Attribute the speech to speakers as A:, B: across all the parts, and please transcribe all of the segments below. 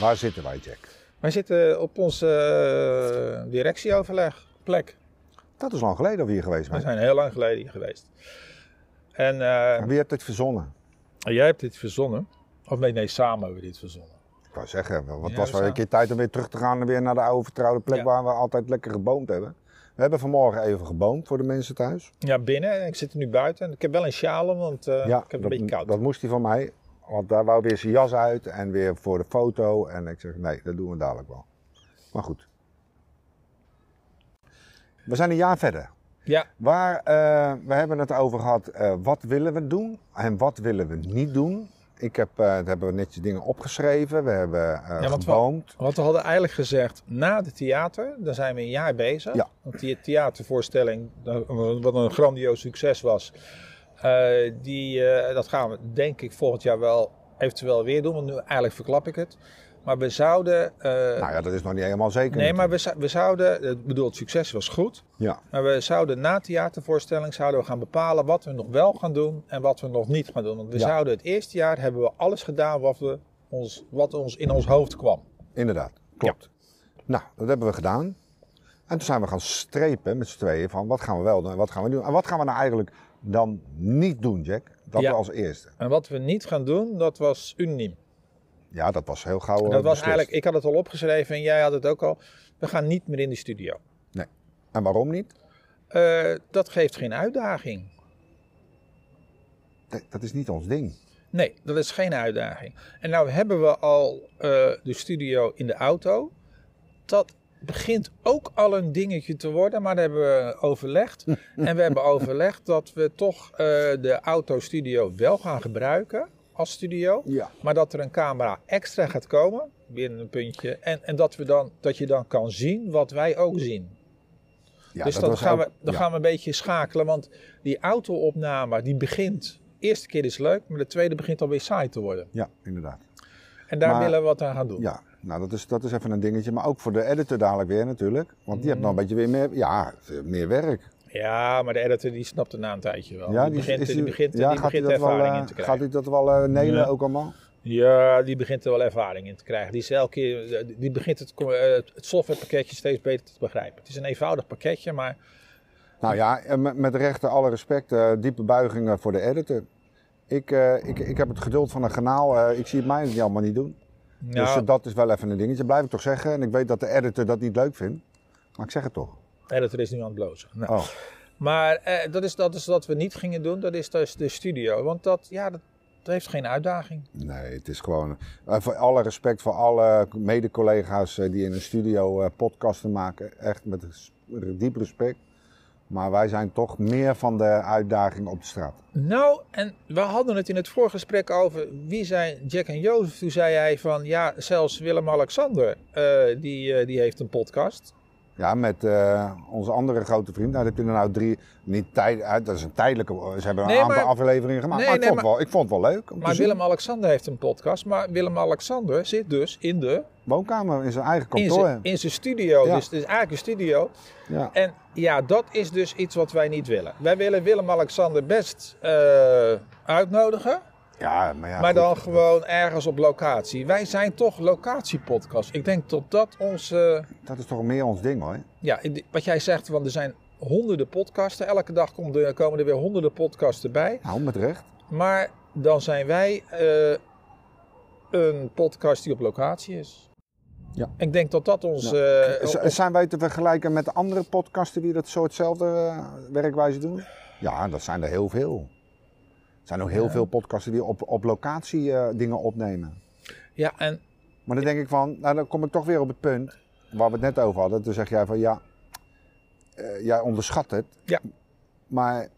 A: waar zitten wij, Jack?
B: Wij zitten op onze eh, directieoverlegplek.
A: Dat is lang geleden dat we hier geweest
B: We
A: zijn.
B: zijn heel lang geleden hier geweest. En eh,
A: En wie heeft dit verzonnen?
B: jij hebt dit verzonnen. Of nee, nee, samen hebben we dit verzonnen.
A: Ik wou zeggen, wat
B: Ja,
A: was
B: we
A: wel een
B: staan.
A: keer tijd om weer terug te gaan en weer naar de oude vertrouwde plek
B: Ja.
A: waar we altijd lekker geboomd hebben. We hebben vanmorgen even geboomd voor de mensen thuis.
B: Ja, binnen. Ik zit er nu buiten. Ik heb wel een sjaal om, want eh, ik heb het
A: dat,
B: een beetje koud.
A: dat moest hij van mij. Want daar wou weer zijn jas uit en weer voor de foto. En ik zeg, nee, dat doen we dadelijk wel. Maar goed. We zijn een jaar verder.
B: Ja,
A: Waar, eh, we hebben het over gehad, eh, wat willen we doen en wat willen we niet doen. Ik heb, eh, daar hebben we netjes dingen opgeschreven, we hebben eh
B: Ja, want we-
A: geboomd.
B: want we hadden eigenlijk gezegd, na het theater, daar zijn we een jaar bezig.
A: Ja.
B: Want die theatervoorstelling, eh, wat een grandioos succes was, eh, die, eh, dat gaan we denk ik volgend jaar wel eventueel weer doen. Want nu eigenlijk verklap ik het. Maar we zouden... eh,
A: Nou ja, dat is nog niet helemaal zeker.
B: nee, maar we, zou- we zouden... eh, Ik bedoel, het succes was goed.
A: Ja,
B: Maar we zouden na theatervoorstelling zouden we gaan bepalen wat we nog wel gaan doen en wat we nog niet gaan doen. Want we
A: Ja.
B: zouden het eerste jaar hebben we alles gedaan wat, we ons, wat ons in ons hoofd kwam.
A: inderdaad. Klopt. Nou, dat hebben we gedaan. En toen zijn we gaan strepen met z'n tweeën van wat gaan we wel doen en wat gaan we doen. En wat gaan we nou eigenlijk dan niet doen, Jack? Dat
B: Ja.
A: we als eerste.
B: En wat we niet gaan doen, dat was unaniem.
A: Ja, dat was heel gauw eh,
B: dat was
A: beslist.
B: eigenlijk, ik had het al opgeschreven en jij had het ook al. We gaan niet meer in de studio.
A: En waarom niet?
B: Eh, dat geeft geen uitdaging.
A: Dat- Dat is niet ons ding.
B: Nee, dat is geen uitdaging. En nou hebben we al eh, de studio in de auto. Dat begint ook al een dingetje te worden, maar dat hebben we overlegd. en we hebben overlegd dat we toch eh, de autostudio wel gaan gebruiken als studio.
A: Ja.
B: Maar dat er een camera extra gaat komen, binnen een puntje. En, en dat, we dan, dat je dan kan zien wat wij ook zien
A: ja
B: dus
A: dat
B: dan,
A: was
B: gaan,
A: ook-
B: we, dan
A: ja.
B: gaan we een beetje schakelen. Want die auto-opname die begint. De eerste keer is leuk, maar de tweede begint alweer saai te worden.
A: Ja, inderdaad.
B: En daar
A: Maar-
B: willen we wat aan gaan doen.
A: Ja, nou dat is, dat is even een dingetje. Maar ook voor de editor dadelijk weer natuurlijk. Want die heeft
B: Mm.
A: nog een beetje weer meer, ja, meer werk.
B: Ja, maar de editor die snapt het na een tijdje wel.
A: ja,
B: Oh, die, begint,
A: is-
B: die begint, die
A: gaat hij
B: begint
A: dat wel,
B: ervaring
A: eh,
B: in te
A: Gaat
B: krijgen.
A: hij dat wel eh, nelen
B: Ja.
A: ook allemaal?
B: Ja, die begint er wel ervaring in te krijgen. Die, is elke keer, die begint het, eh, het softwarepakketje steeds beter te begrijpen. Het is een eenvoudig pakketje, maar
A: Nou ja, en met, met rechte alle respect, eh, diepe buigingen voor de editor. Ik, eh, ik, ik heb het geduld van een kanaal. eh, ik zie het mij niet allemaal niet doen.
B: nou,
A: Dus eh, dat is wel even een dingetje. Blijf ik toch zeggen. En ik weet dat de editor dat niet leuk vindt. Maar ik zeg het toch.
B: de editor is nu aan het blozen. Nou,
A: Oh,
B: Maar eh, dat, is, dat is wat we niet gingen doen, dat is dus de studio. Want dat, ja, dat, dat heeft geen uitdaging.
A: nee, het is gewoon... eh, voor alle respect voor alle mede-collega's eh, die in een studio eh, podcasten maken. Echt met res- diep respect. Maar wij zijn toch meer van de uitdaging op de straat.
B: Nou, en we hadden het in het voorgesprek over wie zijn Jack en Jozef. Toen zei hij van, ja, zelfs Willem-Alexander, eh, die, eh, die heeft een podcast.
A: Ja, met eh, onze andere grote vriend. Nou, dat heb je er nou drie. Niet tijd, eh, dat is een tijdelijke. Ze hebben een
B: Nee,
A: aantal
B: maar-
A: afleveringen gemaakt.
B: Nee,
A: maar, ik,
B: nee,
A: vond het Wel, ik vond het wel leuk. Om
B: Maar
A: te zien.
B: Willem-Alexander heeft een podcast. Maar Willem-Alexander zit dus in, de,
A: Woonkamer in zijn eigen
B: in,
A: kantoor.
B: zijn, in zijn studio.
A: Ja.
B: Dus het is eigenlijk een studio.
A: ja.
B: En ja, dat is dus iets wat wij niet willen. Wij willen Willem-Alexander best eh, uitnodigen.
A: ja, maar ja.
B: maar
A: goed.
B: dan gewoon ergens op locatie. Wij zijn toch locatiepodcast. Ik denk dat dat onze...
A: Dat is toch meer ons ding hoor.
B: Ja, in- wat jij zegt, want er zijn honderden podcasten. Elke dag komt er- komen er weer honderden podcasten bij.
A: Nou, met recht.
B: Maar dan zijn wij eh, een podcast die op locatie is.
A: Ja.
B: Ik denk dat dat ons... eh,
A: Z-
B: op-
A: zijn wij te vergelijken met andere podcasten die dat soortzelfde eh, werkwijze doen? Ja, dat zijn er heel veel. Er zijn ook heel veel podcasten die op, op locatie eh, dingen opnemen.
B: ja, en
A: Maar dan denk ik van, nou dan kom ik toch weer op het punt waar we het net over hadden. Toen zeg jij van ja, eh, jij onderschat het.
B: Ja.
A: Maar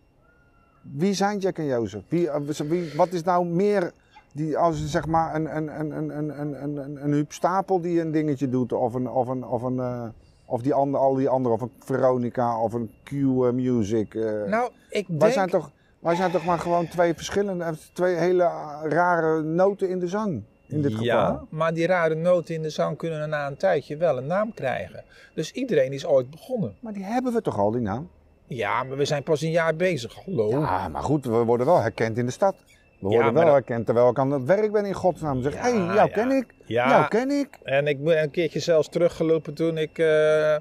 A: wie zijn Jack en Jozef? Wie, eh, wie- wat is nou meer die, als zeg maar een, een, een, een, een, een, een, een, een Huub Stapel die een dingetje doet of een. Of een, of een eh, of die ander, al die anderen, of een Veronica, of een Q eh, Music. eh.
B: nou, ik denk...
A: wij, zijn toch, wij zijn toch maar gewoon twee verschillende, twee hele rare noten in de zang. In dit geval.
B: Ja, maar die rare noten in de zang kunnen na een tijdje wel een naam krijgen. Dus iedereen is ooit begonnen.
A: Maar die hebben we toch al, die naam?
B: Ja, maar we zijn pas een jaar bezig. Hallo.
A: Ja, maar goed, we worden wel herkend in de stad. We
B: Ja,
A: worden
B: maar
A: wel
B: dat-
A: herkend terwijl ik aan het werk ben in godsnaam. Zeg,
B: Ja,
A: hé, jou
B: ja.
A: ken ik.
B: Ja.
A: Jou ken ik.
B: En ik ben een keertje zelfs teruggelopen toen ik eh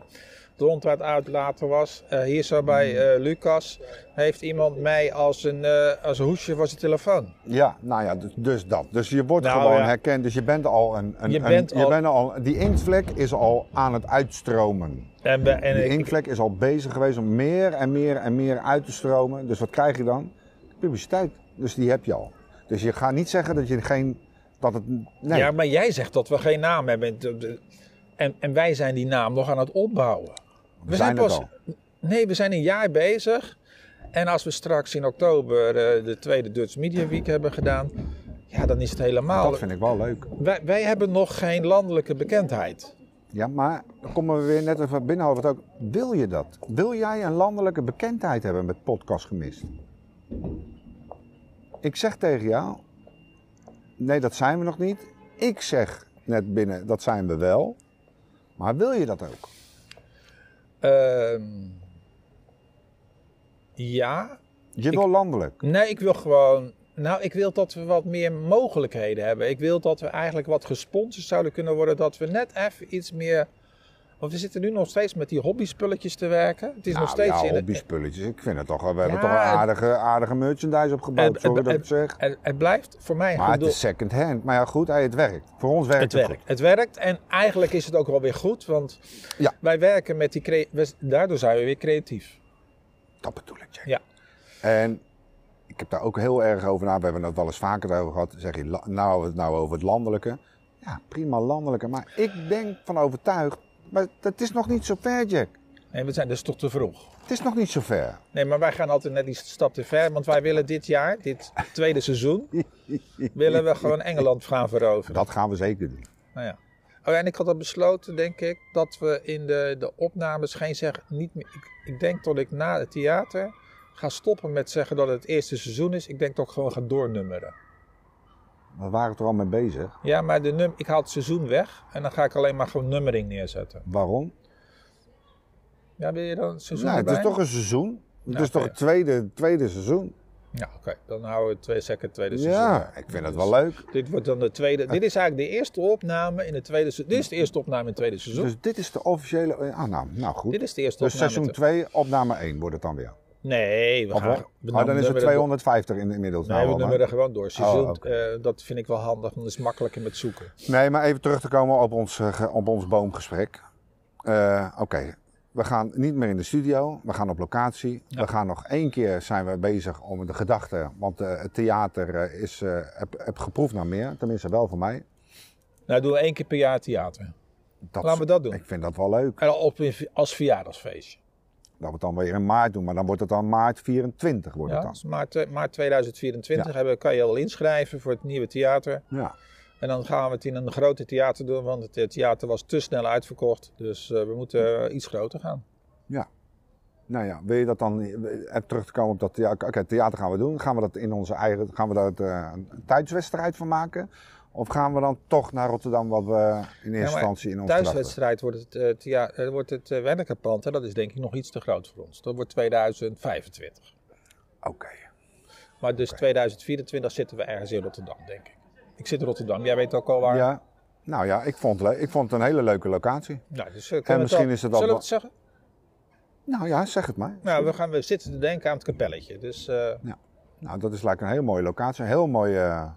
B: rond wat uitlaten was. Eh, hier zo
A: Mm.
B: bij eh, Lucas heeft iemand mij als een, eh, als een hoesje voor zijn telefoon.
A: Ja, nou ja, dus, dus dat. Dus je wordt
B: Nou,
A: gewoon
B: ja.
A: herkend. Dus je bent al een... een
B: Je
A: een-
B: bent
A: je
B: al-
A: bent al... Die inktvlek is al aan het uitstromen.
B: En, we- en
A: De
B: ik-
A: inktvlek is al bezig geweest om meer en meer en meer uit te stromen. Dus wat krijg je dan? Publiciteit. Dus die heb je al. Dus je gaat niet zeggen dat je geen. Dat het, nee.
B: Ja, maar jij zegt dat we geen naam hebben. eh, En, en wij zijn die naam nog aan het opbouwen. We,
A: zijn het
B: Nee, we zijn een jaar bezig. En als we straks in oktober eh, de tweede Dutch Media Week hebben gedaan, ja, dan is het helemaal.
A: dat vind ik wel leuk.
B: Wij, wij hebben nog geen landelijke bekendheid.
A: Ja, maar dan komen we weer net even binnenhouden. Ook, wil je dat? Wil jij een landelijke bekendheid hebben met podcast gemist? Ik zeg tegen jou, nee, dat zijn we nog niet. Ik zeg net binnen, dat zijn we wel. Maar wil je dat ook?
B: Ehm, ja.
A: Je wil landelijk.
B: Nee, ik wil gewoon. Nou, ik wil dat we wat meer mogelijkheden hebben. Ik wil dat we eigenlijk wat gesponsord zouden kunnen worden. Dat we net even iets meer. Want we zitten nu nog steeds met die hobby-spulletjes te werken. Het is nog steeds.
A: Nou ja,
B: in het-
A: hobby-spulletjes. Ik vind het toch wel. We hebben
B: Ja,
A: toch wel
B: het-
A: aardige, aardige merchandise opgebouwd,
B: Het-
A: sorry
B: het-
A: dat ik het zeg.
B: het, het blijft voor mij
A: Maar
B: goed
A: het
B: doel.
A: is second hand. Maar ja, goed, hey, het werkt. Voor ons werkt het,
B: Het werkt. Het werkt en eigenlijk is het ook wel weer goed, want
A: Ja.
B: wij werken met die crea- we- daardoor zijn we weer creatief.
A: goed. Dat bedoel ik, Jack.
B: Ja.
A: En ik heb daar ook heel erg over na. We hebben het wel eens vaker over gehad. Zeg je, la- nou, het nou over het landelijke. Ja, prima landelijke. Maar ik ben van overtuigd. Maar het is nog niet zo ver, Jack.
B: En we zijn dus toch te vroeg.
A: Het is nog niet zo ver.
B: Nee, maar wij gaan altijd net die stap te ver, want wij willen dit jaar, dit tweede seizoen, willen we gewoon Engeland gaan veroveren.
A: Dat gaan we zeker doen.
B: Nou ja. Oh ja, en ik had al besloten, denk ik, dat we in de, de opnames geen zeggen. Niet meer, ik, ik denk dat ik na het theater ga stoppen met zeggen dat het het eerste seizoen is. Ik denk dat ik gewoon ga doornummeren.
A: We waren er al mee bezig.
B: Ja, maar de num ik haal het seizoen weg en dan ga ik alleen maar gewoon nummering neerzetten.
A: Waarom?
B: Ja, wil je dan het seizoen
A: Nou, het is
B: erbij?
A: toch een seizoen. Het
B: Ja,
A: is toch
B: oké.
A: het tweede, tweede seizoen.
B: Ja, oké. Dan houden we het twee second tweede seizoen.
A: Ja, ik vind het wel leuk.
B: Dit wordt dan de
A: Ah.
B: tweede. Dit is eigenlijk de eerste opname in het tweede seizoen. Dit is de eerste opname in het tweede seizoen.
A: Dus dit is de officiële. Ah, nou, nou goed.
B: dit is de eerste
A: Dus
B: opname.
A: seizoen
B: in het-
A: 2, opname 1 wordt het dan weer.
B: Nee, we
A: Of
B: gaan.
A: wel?
B: we
A: Maar dan is het
B: nummeren
A: 250 in, inmiddels.
B: Nee,
A: nou,
B: we
A: al, hè?
B: nummeren gewoon door. Seizoen,
A: Oh, oké.
B: eh, dat vind ik wel handig, want dat is makkelijker met zoeken.
A: nee, maar even terug te komen op ons, eh, ge- op ons boomgesprek. Eh, Oké, we gaan niet meer in de studio. We gaan op locatie. We gaan nog één keer zijn we bezig om de gedachten. Want eh, het theater eh, is, eh, heb, heb geproefd naar meer. Tenminste, wel voor mij.
B: Nou, doen we één keer per jaar theater.
A: Dat,
B: Laten we dat doen.
A: Ik vind dat wel leuk.
B: En op, in- als verjaardagsfeestje.
A: Dat we het dan weer in maart doen. Maar dan wordt het dan maart 24. Wordt
B: Ja,
A: het
B: dus maart, eh, maart 2024 hebben, kan je al inschrijven voor het nieuwe theater.
A: dan. Ja.
B: En dan gaan we het in een grote theater doen, want het eh, theater was te snel uitverkocht. Dus eh, we moeten eh, iets groter gaan.
A: Nou ja, wil je dat dan eh, terug te komen op dat ja, oké, theater gaan we doen? Gaan we dat in onze eigen, gaan we daar eh, een tijdswedstrijd van maken? Of gaan we dan toch naar Rotterdam, wat we in eerste instantie in onze gedachten-
B: Thuiswedstrijd wordt het, eh thea- eh, wordt het eh, Wernerpand, hè, dat is denk ik nog iets te groot voor ons. Dat wordt 2025.
A: Oké.
B: Maar dus 2024 zitten we ergens in Rotterdam, denk ik. Ik zit in Rotterdam, jij weet ook al waar.
A: Ja. Nou ja, ik vond, le- ik vond het een hele leuke locatie.
B: Nou, dus, eh, kunnen
A: En
B: we het
A: misschien
B: al-
A: is het al
B: Zullen we
A: wa-
B: het zeggen?
A: Nou ja, zeg het maar.
B: Nou, we, gaan, we zitten te denken aan het kapelletje. Dus eh,
A: Nou, dat is lijkt een hele mooie locatie. Een heel mooie, eh,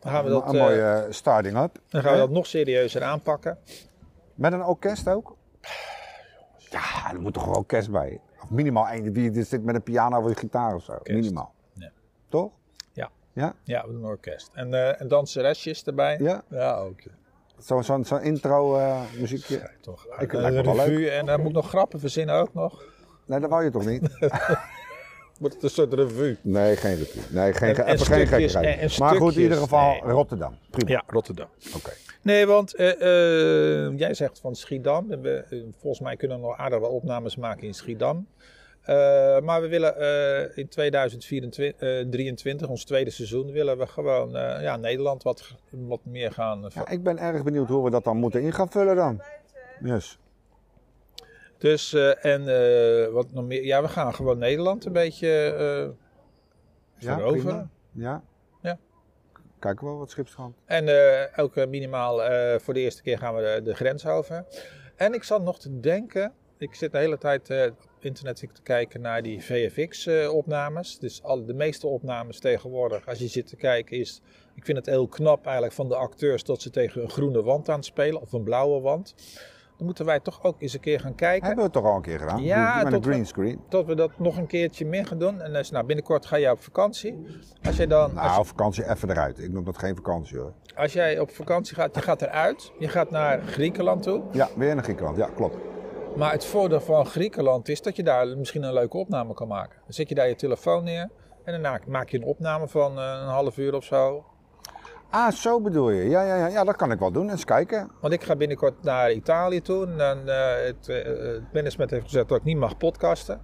B: dan, gaan we dat,
A: een
B: eh,
A: mooie eh, starting up.
B: dan gaan we
A: Hè?
B: dat nog serieuzer aanpakken.
A: Met een orkest ook? Ja, er moet toch een orkest bij? Of minimaal één. Die die zit met een piano of een gitaar of zo. Minimaal.
B: Ja.
A: Toch?
B: Ja.
A: Ja?
B: Ja, we doen een orkest. En, eh en danseresjes erbij.
A: Ja?
B: Ja, ook. ja.
A: Zo'n zo, zo'n intro eh, muziekje.
B: Toch.
A: Ik-
B: En
A: lijkt me
B: een
A: wel
B: revue. En dan moet ik nog grappen verzinnen ook nog.
A: Nee, dat wou je toch niet?
B: Wordt het een soort revue.
A: Nee, geen repeat. Nee, geen,
B: En-
A: ge-
B: en
A: even geen
B: stukjes,
A: gekkigheid.
B: en- en
A: maar goed, in ieder
B: stukjes,
A: geval
B: nee.
A: Rotterdam. Prima.
B: Ja, Rotterdam.
A: Oké.
B: Nee, want eh, eh, jij zegt van Schiedam. En We, eh, volgens mij kunnen we nog aardig wat opnames maken in Schiedam. Eh, maar we willen eh, in 2023, ons tweede seizoen, willen we gewoon eh, ja, Nederland wat, g- wat meer gaan. eh, ver-
A: Ja, ik ben erg benieuwd hoe we dat dan moeten in gaan vullen dan. Yes.
B: Dus, eh, en eh, wat nog meer? Ja, we gaan gewoon Nederland een beetje eh
A: Ja,
B: veroveren.
A: prima. Ja. Kijken we wel wat Schipstrand.
B: En eh, ook eh, minimaal eh, voor de eerste keer gaan we de, de grens over. En ik zat nog te denken, ik zit de hele tijd eh, op internet te kijken naar die VFX-opnames. dus al, de meeste opnames tegenwoordig, als je zit te kijken, is. Ik vind het heel knap eigenlijk van de acteurs dat ze tegen een groene wand aan het spelen of een blauwe wand. Dan moeten wij toch ook eens een keer gaan kijken.
A: Hebben we het toch al een keer gedaan?
B: Ja,
A: Met een
B: tot-
A: greenscreen.
B: Dat we dat nog een keertje meer gaan doen. En eh, nou, binnenkort ga jij op vakantie. Als jij dan. als-
A: Nou, vakantie even eruit. Ik noem dat geen vakantie hoor.
B: Als jij op vakantie gaat, je gaat eruit. Je gaat naar Griekenland toe.
A: Ja, weer naar Griekenland. Ja, klopt.
B: Maar het voordeel van Griekenland is dat je daar misschien een leuke opname kan maken. Dan zet je daar je telefoon neer en daarna maak je een opname van eh, een half uur of zo.
A: Ah, zo bedoel je. Ja, ja, ja, ja dat kan ik wel doen. Eens kijken.
B: Want ik ga binnenkort naar Italië toe. En dan, eh, het, eh, het management heeft gezegd dat ik niet mag podcasten.
A: Oh,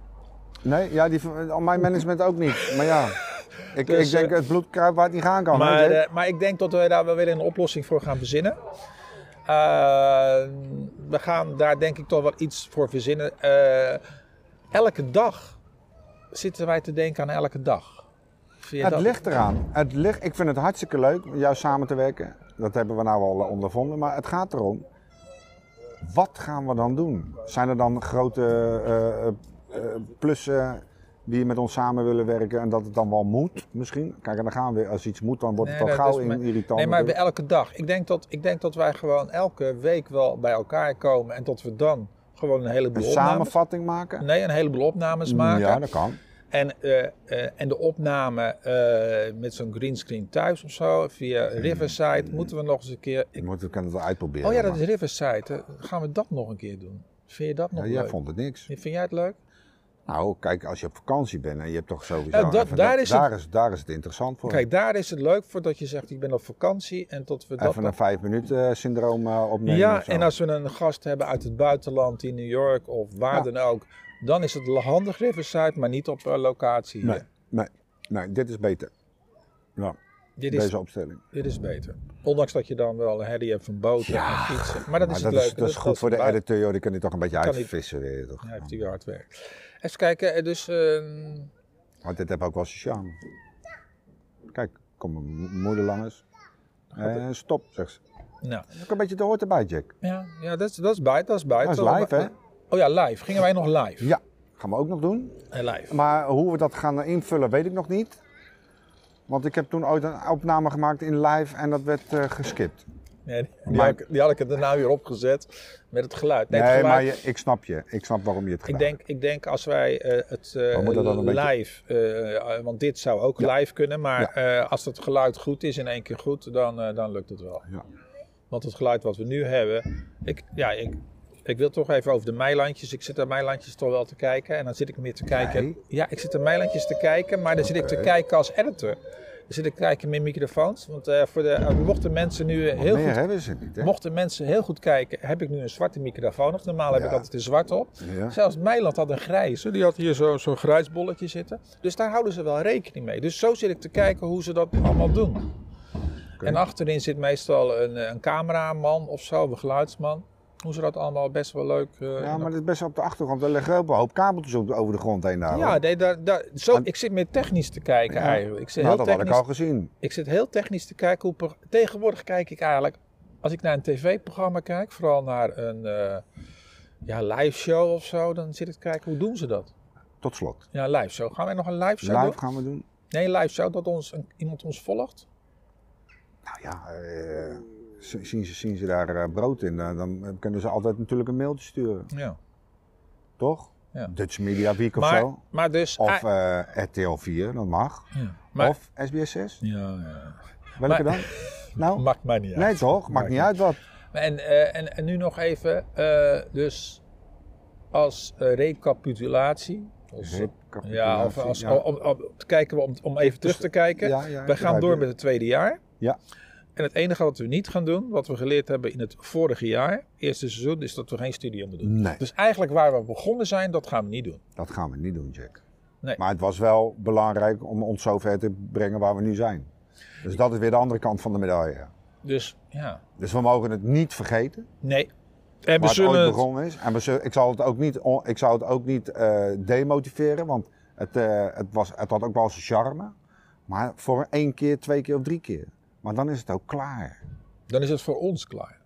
A: Nee, ja, die, al mijn management ook niet. Maar ja, ik,
B: Dus,
A: ik denk
B: eh,
A: het bloed kruipt waar het niet gaan kan. hè,
B: maar,
A: Dick?
B: eh, maar ik denk dat we daar wel weer een oplossing voor gaan verzinnen. Eh, we gaan daar denk ik toch wel iets voor verzinnen. Eh, elke dag zitten wij te denken aan elke dag. Vind je
A: het
B: dat-
A: ligt eraan. Het ligt, ik vind het hartstikke leuk om jou samen te werken. Dat hebben we nou al ondervonden. Maar het gaat erom, wat gaan we dan doen? Zijn er dan grote eh, eh, eh, plussen die met ons samen willen werken en dat het dan wel moet misschien? Kijk, en dan gaan we weer. Als iets moet, dan wordt het
B: Nee,
A: al
B: dat
A: gauw
B: is
A: in,
B: mijn-
A: irritant.
B: Nee, maar bij
A: natuurlijk.
B: elke dag. Ik denk, dat, ik denk dat wij gewoon elke week wel bij elkaar komen en dat we dan gewoon een heleboel
A: Een
B: opnames...
A: samenvatting maken?
B: Nee, een heleboel opnames maken.
A: Ja, dat kan.
B: En, eh, eh, en de opname eh, met zo'n greenscreen thuis of zo, via
A: Mm,
B: Riverside, moeten we nog eens een keer...
A: Ik
B: Ik-
A: moet ik kan het wel uitproberen.
B: Oh ja, dat
A: maar-
B: is Riverside. Eh, Gaan we dat nog een keer doen? Vind je dat nog
A: Ja,
B: leuk?
A: jij vond het niks.
B: Vind jij het leuk?
A: Nou, kijk, als je op vakantie bent en je hebt toch sowieso...
B: Ja, dat-
A: even-
B: daar is het-
A: daar, is, daar is het interessant voor.
B: Kijk, daar is het leuk voor dat je zegt, ik ben op vakantie en dat we dat
A: even een vijf minuten syndroom eh, opnemen
B: Ja,
A: of zo.
B: en als we een gast hebben uit het buitenland in New York of waar
A: Ja.
B: dan ook, dan is het handig Riverside, maar niet op eh, locatie. hier.
A: Nee, nee, nee, dit is beter. Ja,
B: Dit, is,
A: deze opstelling.
B: dit is beter. Ondanks dat je dan wel een herrie hebt van boten
A: Ja,
B: en fietsen. Maar dat
A: Maar
B: is
A: dat
B: het
A: is,
B: leuke.
A: dat is goed voor de
B: buiten-
A: editor, joh. Die kan die toch een beetje
B: Kan
A: uitvissen weer, toch?
B: Ja, heeft hij weer hard werk. Even kijken, eh, dus... ehm,
A: Want dit heeft ook wel zijn charme. Kijk, kom, mo- moeder langers. En stop, zegt ze.
B: nou,
A: Ook een beetje de hoort erbij, Jack.
B: ja, ja dat, is, dat is buiten, dat is buiten.
A: Dat is live, hè?
B: Oh ja, live. Gingen wij nog live?
A: Ja, gaan we ook nog doen.
B: Eh, live.
A: Maar hoe we dat gaan invullen, weet ik nog niet. Want ik heb toen ooit een opname gemaakt in live en dat werd eh, geskipt.
B: Nee, die,
A: Maar-
B: had ik, die had ik er daarna weer opgezet met het geluid.
A: Nee,
B: het geluid-
A: maar je, ik snap je. Ik snap waarom je het
B: Ik
A: gedaan
B: denk, ik denk als wij eh, het eh,
A: We moeten dat een beetje-
B: live, eh, eh, want dit zou ook
A: Ja.
B: live kunnen, maar eh, als het geluid goed is in één keer goed, dan, eh, dan lukt het wel.
A: Ja.
B: Want het geluid wat we nu hebben, ik, ja, ik, ik wil toch even over de meilandjes. Ik zit naar meilandjes toch wel te kijken en dan zit ik meer te kijken.
A: Nee.
B: Ja, ik zit naar meilandjes te kijken, maar dan zit ik te
A: Oké.
B: kijken als editor. Dan zit ik te kijken met microfoons, want eh, voor de, eh, mochten mensen nu eh,
A: hebt.
B: heel
A: Meer
B: goed...
A: hebben ze niet, hè?
B: Mochten mensen heel goed kijken, heb ik nu een zwarte microfoon of normaal heb
A: Ja.
B: ik altijd een zwart op.
A: Ja.
B: Zelfs Meiland had een grijze, die had hier zo- zo'n grijs bolletje zitten. Dus daar houden ze wel rekening mee. Dus zo zit ik te kijken hoe ze dat allemaal doen. En achterin zit meestal een, eh, een cameraman of zo, een geluidsman. Hoe ze dat allemaal best wel leuk... eh,
A: Ja, maar dat is best op de achtergrond. Er liggen ook een hoop kabeltjes op- over de grond heen daar.
B: Ja,
A: hoor.
B: nee, daar, daar, zo,
A: En-
B: ik zit meer technisch te kijken
A: Ja.
B: eigenlijk. Ik zit,
A: Nou,
B: heel
A: dat had ik
B: technisch,
A: al gezien.
B: ik zit heel technisch te kijken. Hoe, pro- tegenwoordig kijk ik eigenlijk, als ik naar een tv-programma kijk, vooral naar een eh ja, live show of zo, dan zit ik te kijken hoe doen ze dat.
A: Tot slot.
B: Ja, live show. Gaan wij nog een live show doen?
A: Live gaan we doen.
B: Nee, live show dat ons, een- iemand ons volgt.
A: Nou ja, eh, z- zien, ze, zien ze daar eh, brood in, eh, dan eh, kunnen ze altijd natuurlijk een mailtje sturen.
B: Ja.
A: Toch?
B: Ja.
A: Dutch Media Week of
B: Maar,
A: zo.
B: maar dus.
A: Of
B: ah,
A: eh, RTL 4, dat mag.
B: ja. Maar,
A: Of SBS6.
B: ja, ja.
A: Welke
B: Maar-
A: dan? Nou,
B: Maakt mij niet uit.
A: nee toch? Maakt niet uit wat.
B: En, eh, en, en nu nog even, eh, dus als eh, recapitulatie. Als, ja, of als,
A: Mhm. Ja. Dus,
B: Om, om, om te kijken, om, om even terug te kijken.
A: Ja, ja,
B: we gaan
A: begrijp
B: door
A: je.
B: met het tweede jaar.
A: Ja.
B: En het enige wat we niet gaan doen, wat we geleerd hebben in het vorige jaar, eerste seizoen, is dat we geen studie moeten doen.
A: Nee.
B: Dus eigenlijk waar we begonnen zijn, dat gaan we niet doen.
A: Dat gaan we niet doen, Jack.
B: Nee.
A: Maar het was wel belangrijk om ons zover te brengen waar we nu zijn. Dus dat is weer de andere kant van de medaille.
B: Dus ja,
A: Dus we mogen het niet vergeten
B: nee. En we
A: waar het ooit
B: zullen het-
A: begonnen is. En we zullen- ik zal het ook niet, on- ik zal het ook niet eh, demotiveren, want het, eh, het, was, het had ook wel zijn charme. Maar voor één keer, twee keer of drie keer. Maar dan is het ook klaar.
B: Dan is het voor ons klaar.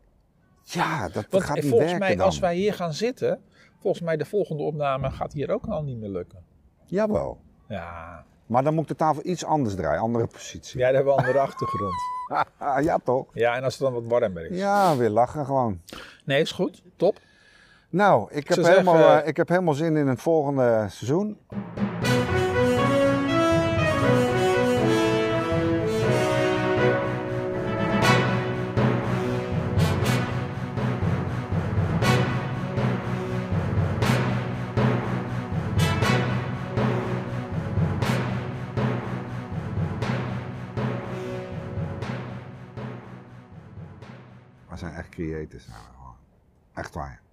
A: Ja, dat
B: Want
A: gaat niet
B: volgens
A: werken
B: mij,
A: dan.
B: als wij hier gaan zitten, volgens mij de volgende opname gaat hier ook al niet meer lukken.
A: Jawel.
B: Ja,
A: Maar dan moet ik de tafel iets anders draaien, andere positie.
B: jij hebt wel een andere achtergrond.
A: Ja, ja toch?
B: Ja, en als het dan wat warmer is.
A: Ja, weer lachen gewoon.
B: Nee, is goed. Top.
A: Nou, ik heb,
B: zou zeggen-
A: helemaal, eh, ik heb helemaal zin in het volgende seizoen. We zijn Nou, echt creators. zijn we gewoon. Echt waar.